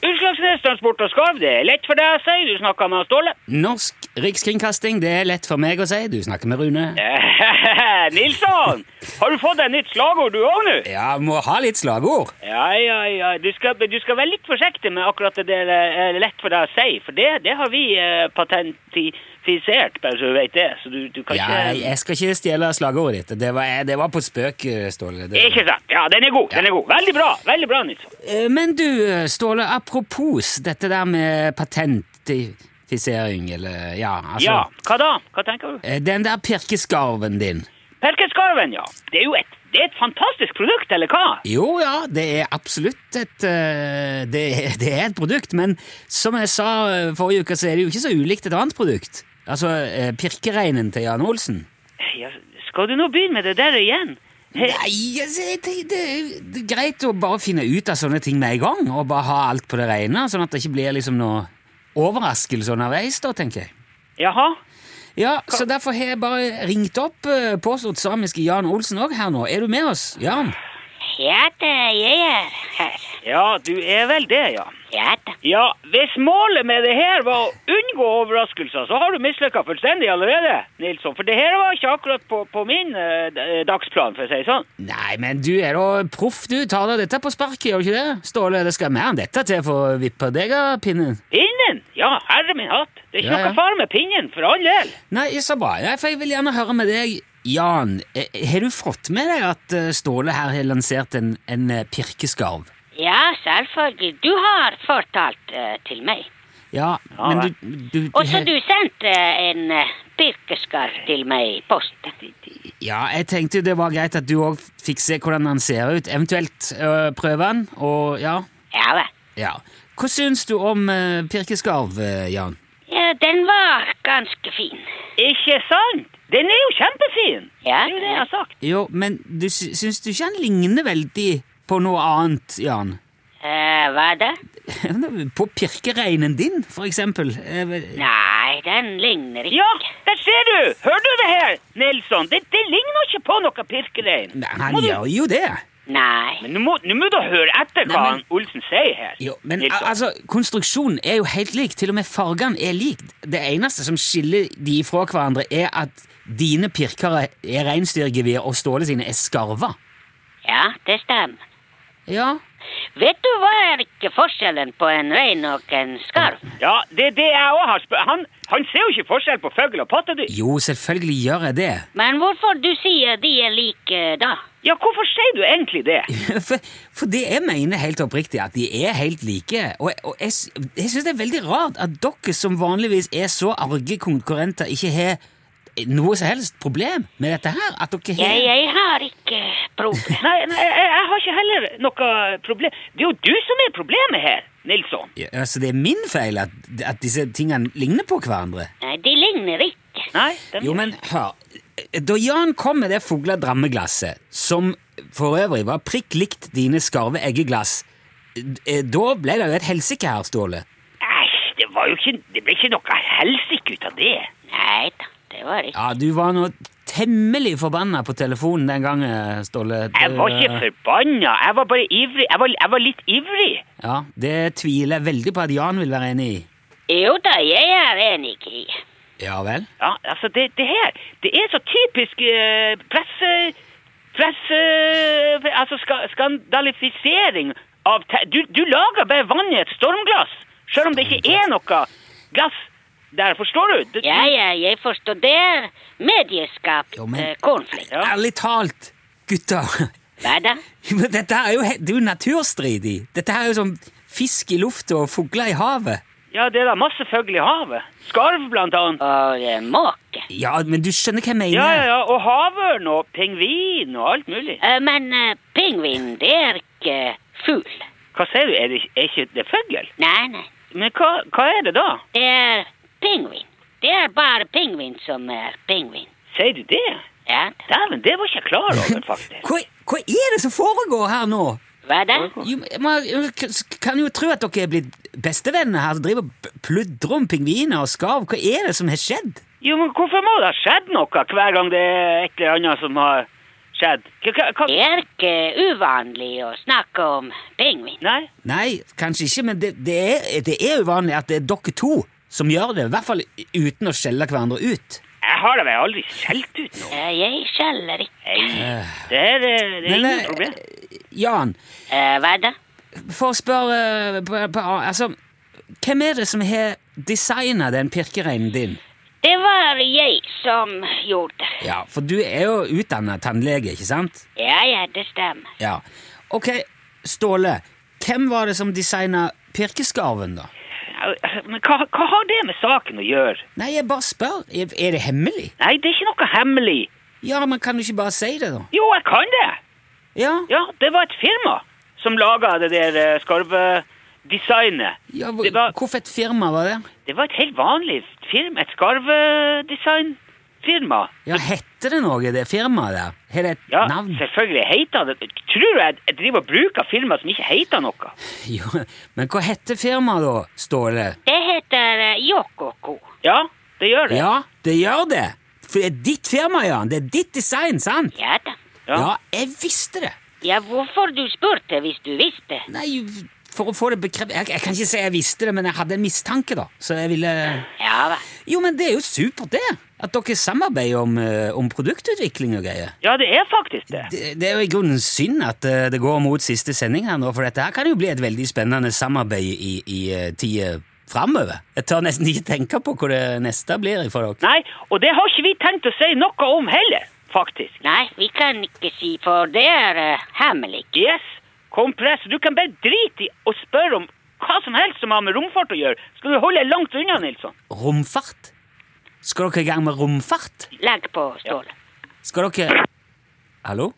Forsvarstransport og skarv, det er lett for deg å si. Du snakka med Ståle. Norsk rikskringkasting, det er lett for meg å si. Du snakker med Rune. Nilsson, har du fått deg nytt slagord du òg nå? Ja, må ha litt slagord. Ja, ja, ja. Du skal, du skal være litt forsiktig med akkurat det der eh, lett for deg å si, for det, det har vi eh, patentifisert, bare så du vet det. Så du, du kan Ja, ikke jeg skal ikke stjele slagordet ditt. Det var, det var på spøk, Ståle. Det- Ikke sant. Ja, den er god. Den er god. Veldig bra. Veldig bra, Nilsson. Eh, Men du, Ståle, apropos dette der med patentifisering, eller ja, altså Ja, hva da? Hva tenker du? Eh, Den der pirkeskarven din. Perkeskarven, ja. Det er jo et, det er et fantastisk produkt, eller hva? Jo ja, det er absolutt et eh, det, det er et produkt, men som jeg sa eh, forrige uke, så er det jo ikke så ulikt et annet produkt. Altså eh, pirkereinen til Jan Olsen. Ja, skal du nå begynne med det der igjen? He- Nei, altså, det, det, det er greit å bare finne ut av sånne ting med en gang, og bare ha alt på det rene, sånn at det ikke blir liksom noe overraskelse underveis, da, tenker jeg. Jaha? Ja, så derfor har jeg bare ringt opp eh, påstått samiske Jan Olsen òg her nå. Er du med oss, Jan? Ja da, jeg er her. Ja, du er vel det, ja. Ja da. Ja, hvis målet med det her var å unngå overraskelser, så har du mislykka fullstendig allerede, Nilsson. For det her var ikke akkurat på, på min eh, d- eh, dagsplan, for å si det sånn. Nei, men du er da proff, du. Tar da dette på sparket, gjør du ikke det? Ståle, det skal mer enn dette til for å vippe deg av pinnen. Pinnen? Ja, herre min hatt. Det er ikke Ja, ja. noe fare med pinnen, for all del. Nei, så bra. Nei, for jeg vil gjerne høre med deg, Jan. Eh, Har du fått med deg at eh, Ståle her har lansert en, en eh, pirkeskarv? Ja, selvfølgelig. Du har fortalt eh, til meg. Ja, Ja, men vel. du, du, du Og så har- du sendte eh, en uh, pirkeskarv til meg i posten. Ja, jeg tenkte det var greit at du òg fikk se hvordan han ser ut. Eventuelt øh, prøve han, og ja. Ja vel. ja. Hva syns du om øh, pirkeskarv, øh, Jan? Ja, den var ganske fin. Ikke sant? Den er jo kjempefin! Ja. Det er jo det jeg har sagt. Jo, men du sy- syns du ikke han ligner veldig på noe annet, Jan? Eh, hva da? På pirkereinen din, for eksempel. Eh, Jeg vet- Nei, den ligner ikke. Ja, der ser du! Hører du det her, Nilsson? Det, det ligner ikke på noe pirkerein. Nei, han Må du- gjør jo det. Nei. Men nå må, nå må du høre etter hva Nei, men- han Olsen sier her. Jo, men Nilsson. al- altså, konstruksjonen er jo helt lik. Til og med fargene er lik. Det eneste som skiller de fra hverandre, er at dine pirkere er reinsdyrgevir, og Ståle sine er skarver. Ja, det stemmer. Ja. Vet du hva er ikke forskjellen på en rein og en skarv? Ja, det er det jeg òg har spurt han, han ser jo ikke forskjell på fugl og pattedyr. Jo, selvfølgelig gjør jeg det. Men hvorfor du sier de er like da? Ja, hvorfor sier du egentlig det? For, for det jeg mener helt oppriktig, at de er helt like. Og, og jeg, s- jeg syns det er veldig rart at dere som vanligvis er så arge konkurrenter, ikke har noe som helst problem med dette her. At dere Jeg, har jeg har ikke problem. Nei, nei jeg, jeg har ikke heller noe problem. Det er jo du som er problemet her, Nilsson. Ja, Altså, det er min feil at, at disse tingene ligner på hverandre. Nei, de ligner ikke. Nei, den, Jo, men hør. Da Jan kom med det fugla drammeglasset, som for øvrig var prikk likt dine skarve eggeglass, eh, da ble det jo et helsike her, Ståle. Æsj, det var jo ikke Det ble ikke noe helsike ut av det. Nei da, det var ikke. Ja, du var nå temmelig forbanna på telefonen den gangen, Stålle. Det- Jeg var ikke forbanna. Jeg var bare ivrig. Jeg var, jeg var litt ivrig. eh, Ja, Det tviler jeg veldig på at Jan vil være enig i. Jo da, jeg er enig i. Ja vel? Ja, altså, det, det her Det er så typisk eh, presse... Presse... Altså, ska, skandalifisering av te du, du lager bare vann i et stormglass, sjøl om det ikke er noe glass der, forstår du? Du- Ja, ja, jeg forstår. Det er medieskapt Jo, men- eh, konflikt. Ja. Ærlig talt, gutter. Hva da? Men Dette er jo, he- det er jo naturstridig. Dette er jo som fisk i lufta og fugler i havet. Ja, det er da masse fugl i havet. Skarv, blant annet. Og eh, måke. Ja, men du skjønner hva jeg mener. Ja, ja, ja. Og havørn og pingvin og alt mulig. Eh, Men eh, pingvin, det er ikke fugl. Hva sier du? Er det, er ikke det fugl? Nei, nei. Men hva, hva er det da? Det er pingvin. Det er bare pingvin som er pingvin. Sier du det? Ja da. Dæven, det var ikke jeg klar over, faktisk. Hva, hva er det som foregår her nå? Hva da? Jo, man kan jo tro at dere er blitt bestevenner her, som driver og p- pludrer om pingviner og skarv. Hva er det som har skjedd? Jo, men hvorfor må det ha skjedd noe hver gang det er et eller annet som har skjedd? Hva, hva, hva? Det er ikke uvanlig å snakke om pingvin. Nei? Nei, kanskje ikke, men det, det, er, det er uvanlig at det er dere to som gjør det. I hvert fall uten å skjelle hverandre ut. Jeg har da vel aldri skjelt ut noe? Eh, Jeg skjeller ikke. Nei. Det er, eh, det er Men, ingen eh, problem. Jan, Eh, Hva da? for å spørre eh, på, på, Altså, hvem er det som har designa den pirkereinen din? Det var jeg som gjorde det. Ja, For du er jo utdanna tannlege, ikke sant? Ja, ja, det stemmer. Ja. Ok, Ståle. Hvem var det som designa pirkeskarven, da? Ja, Men hva, hva har det med saken å gjøre? Nei, jeg bare spør. Er er det hemmelig? Nei, det er ikke noe hemmelig. Ja, men kan du ikke bare si det, da? Jo, jeg kan det. Ja, Ja, det var et firma som laga det der eh, skarvedesignet. ja Det var- Hvorfor et firma var det? Det var et helt vanlig firma, et skarvedesignfirma. Ja, Heter det noe, det firmaet der? Har det et Ja, navn? selvfølgelig heter det Tror du jeg driver og bruker firma som ikke heter noe? Jo, men hva heter firmaet, da, Ståle? Det heter eh, Yokoko. Ja, det gjør det. Ja, det gjør det! For det er ditt firma, Jan. Det er ditt design, sant? Ja da. Ja. jeg visste det. Ja, hvorfor du spurte hvis du visste? Nei, for å få det bekreftet jeg, jeg kan ikke si jeg visste det, men jeg hadde en mistanke, da. Så jeg ville Ja, hva? Jo, men det er jo supert, det. At dere samarbeider om, eh, om produktutvikling og greier. Ja, det er faktisk det. Det, det er jo i grunnen synd at eh, det går mot siste sending her nå, for dette her kan jo bli et veldig spennende samarbeid i, i eh, tida framover. Jeg tør nesten ikke tenke på hva det neste blir for dere. Nei, og det har ikke vi tenkt å si noe om heller, faktisk. Nei, vi kan ikke si, for det er eh, hemmelig. Yes, kompress. Du kan bare drite i å spørre om hva som helst som har med romfart å gjøre. Skal du holde deg langt unna, Nilsson? Romfart? Skal dere i gang med romfart? Legg på, Ståle. Skal dere Hallo?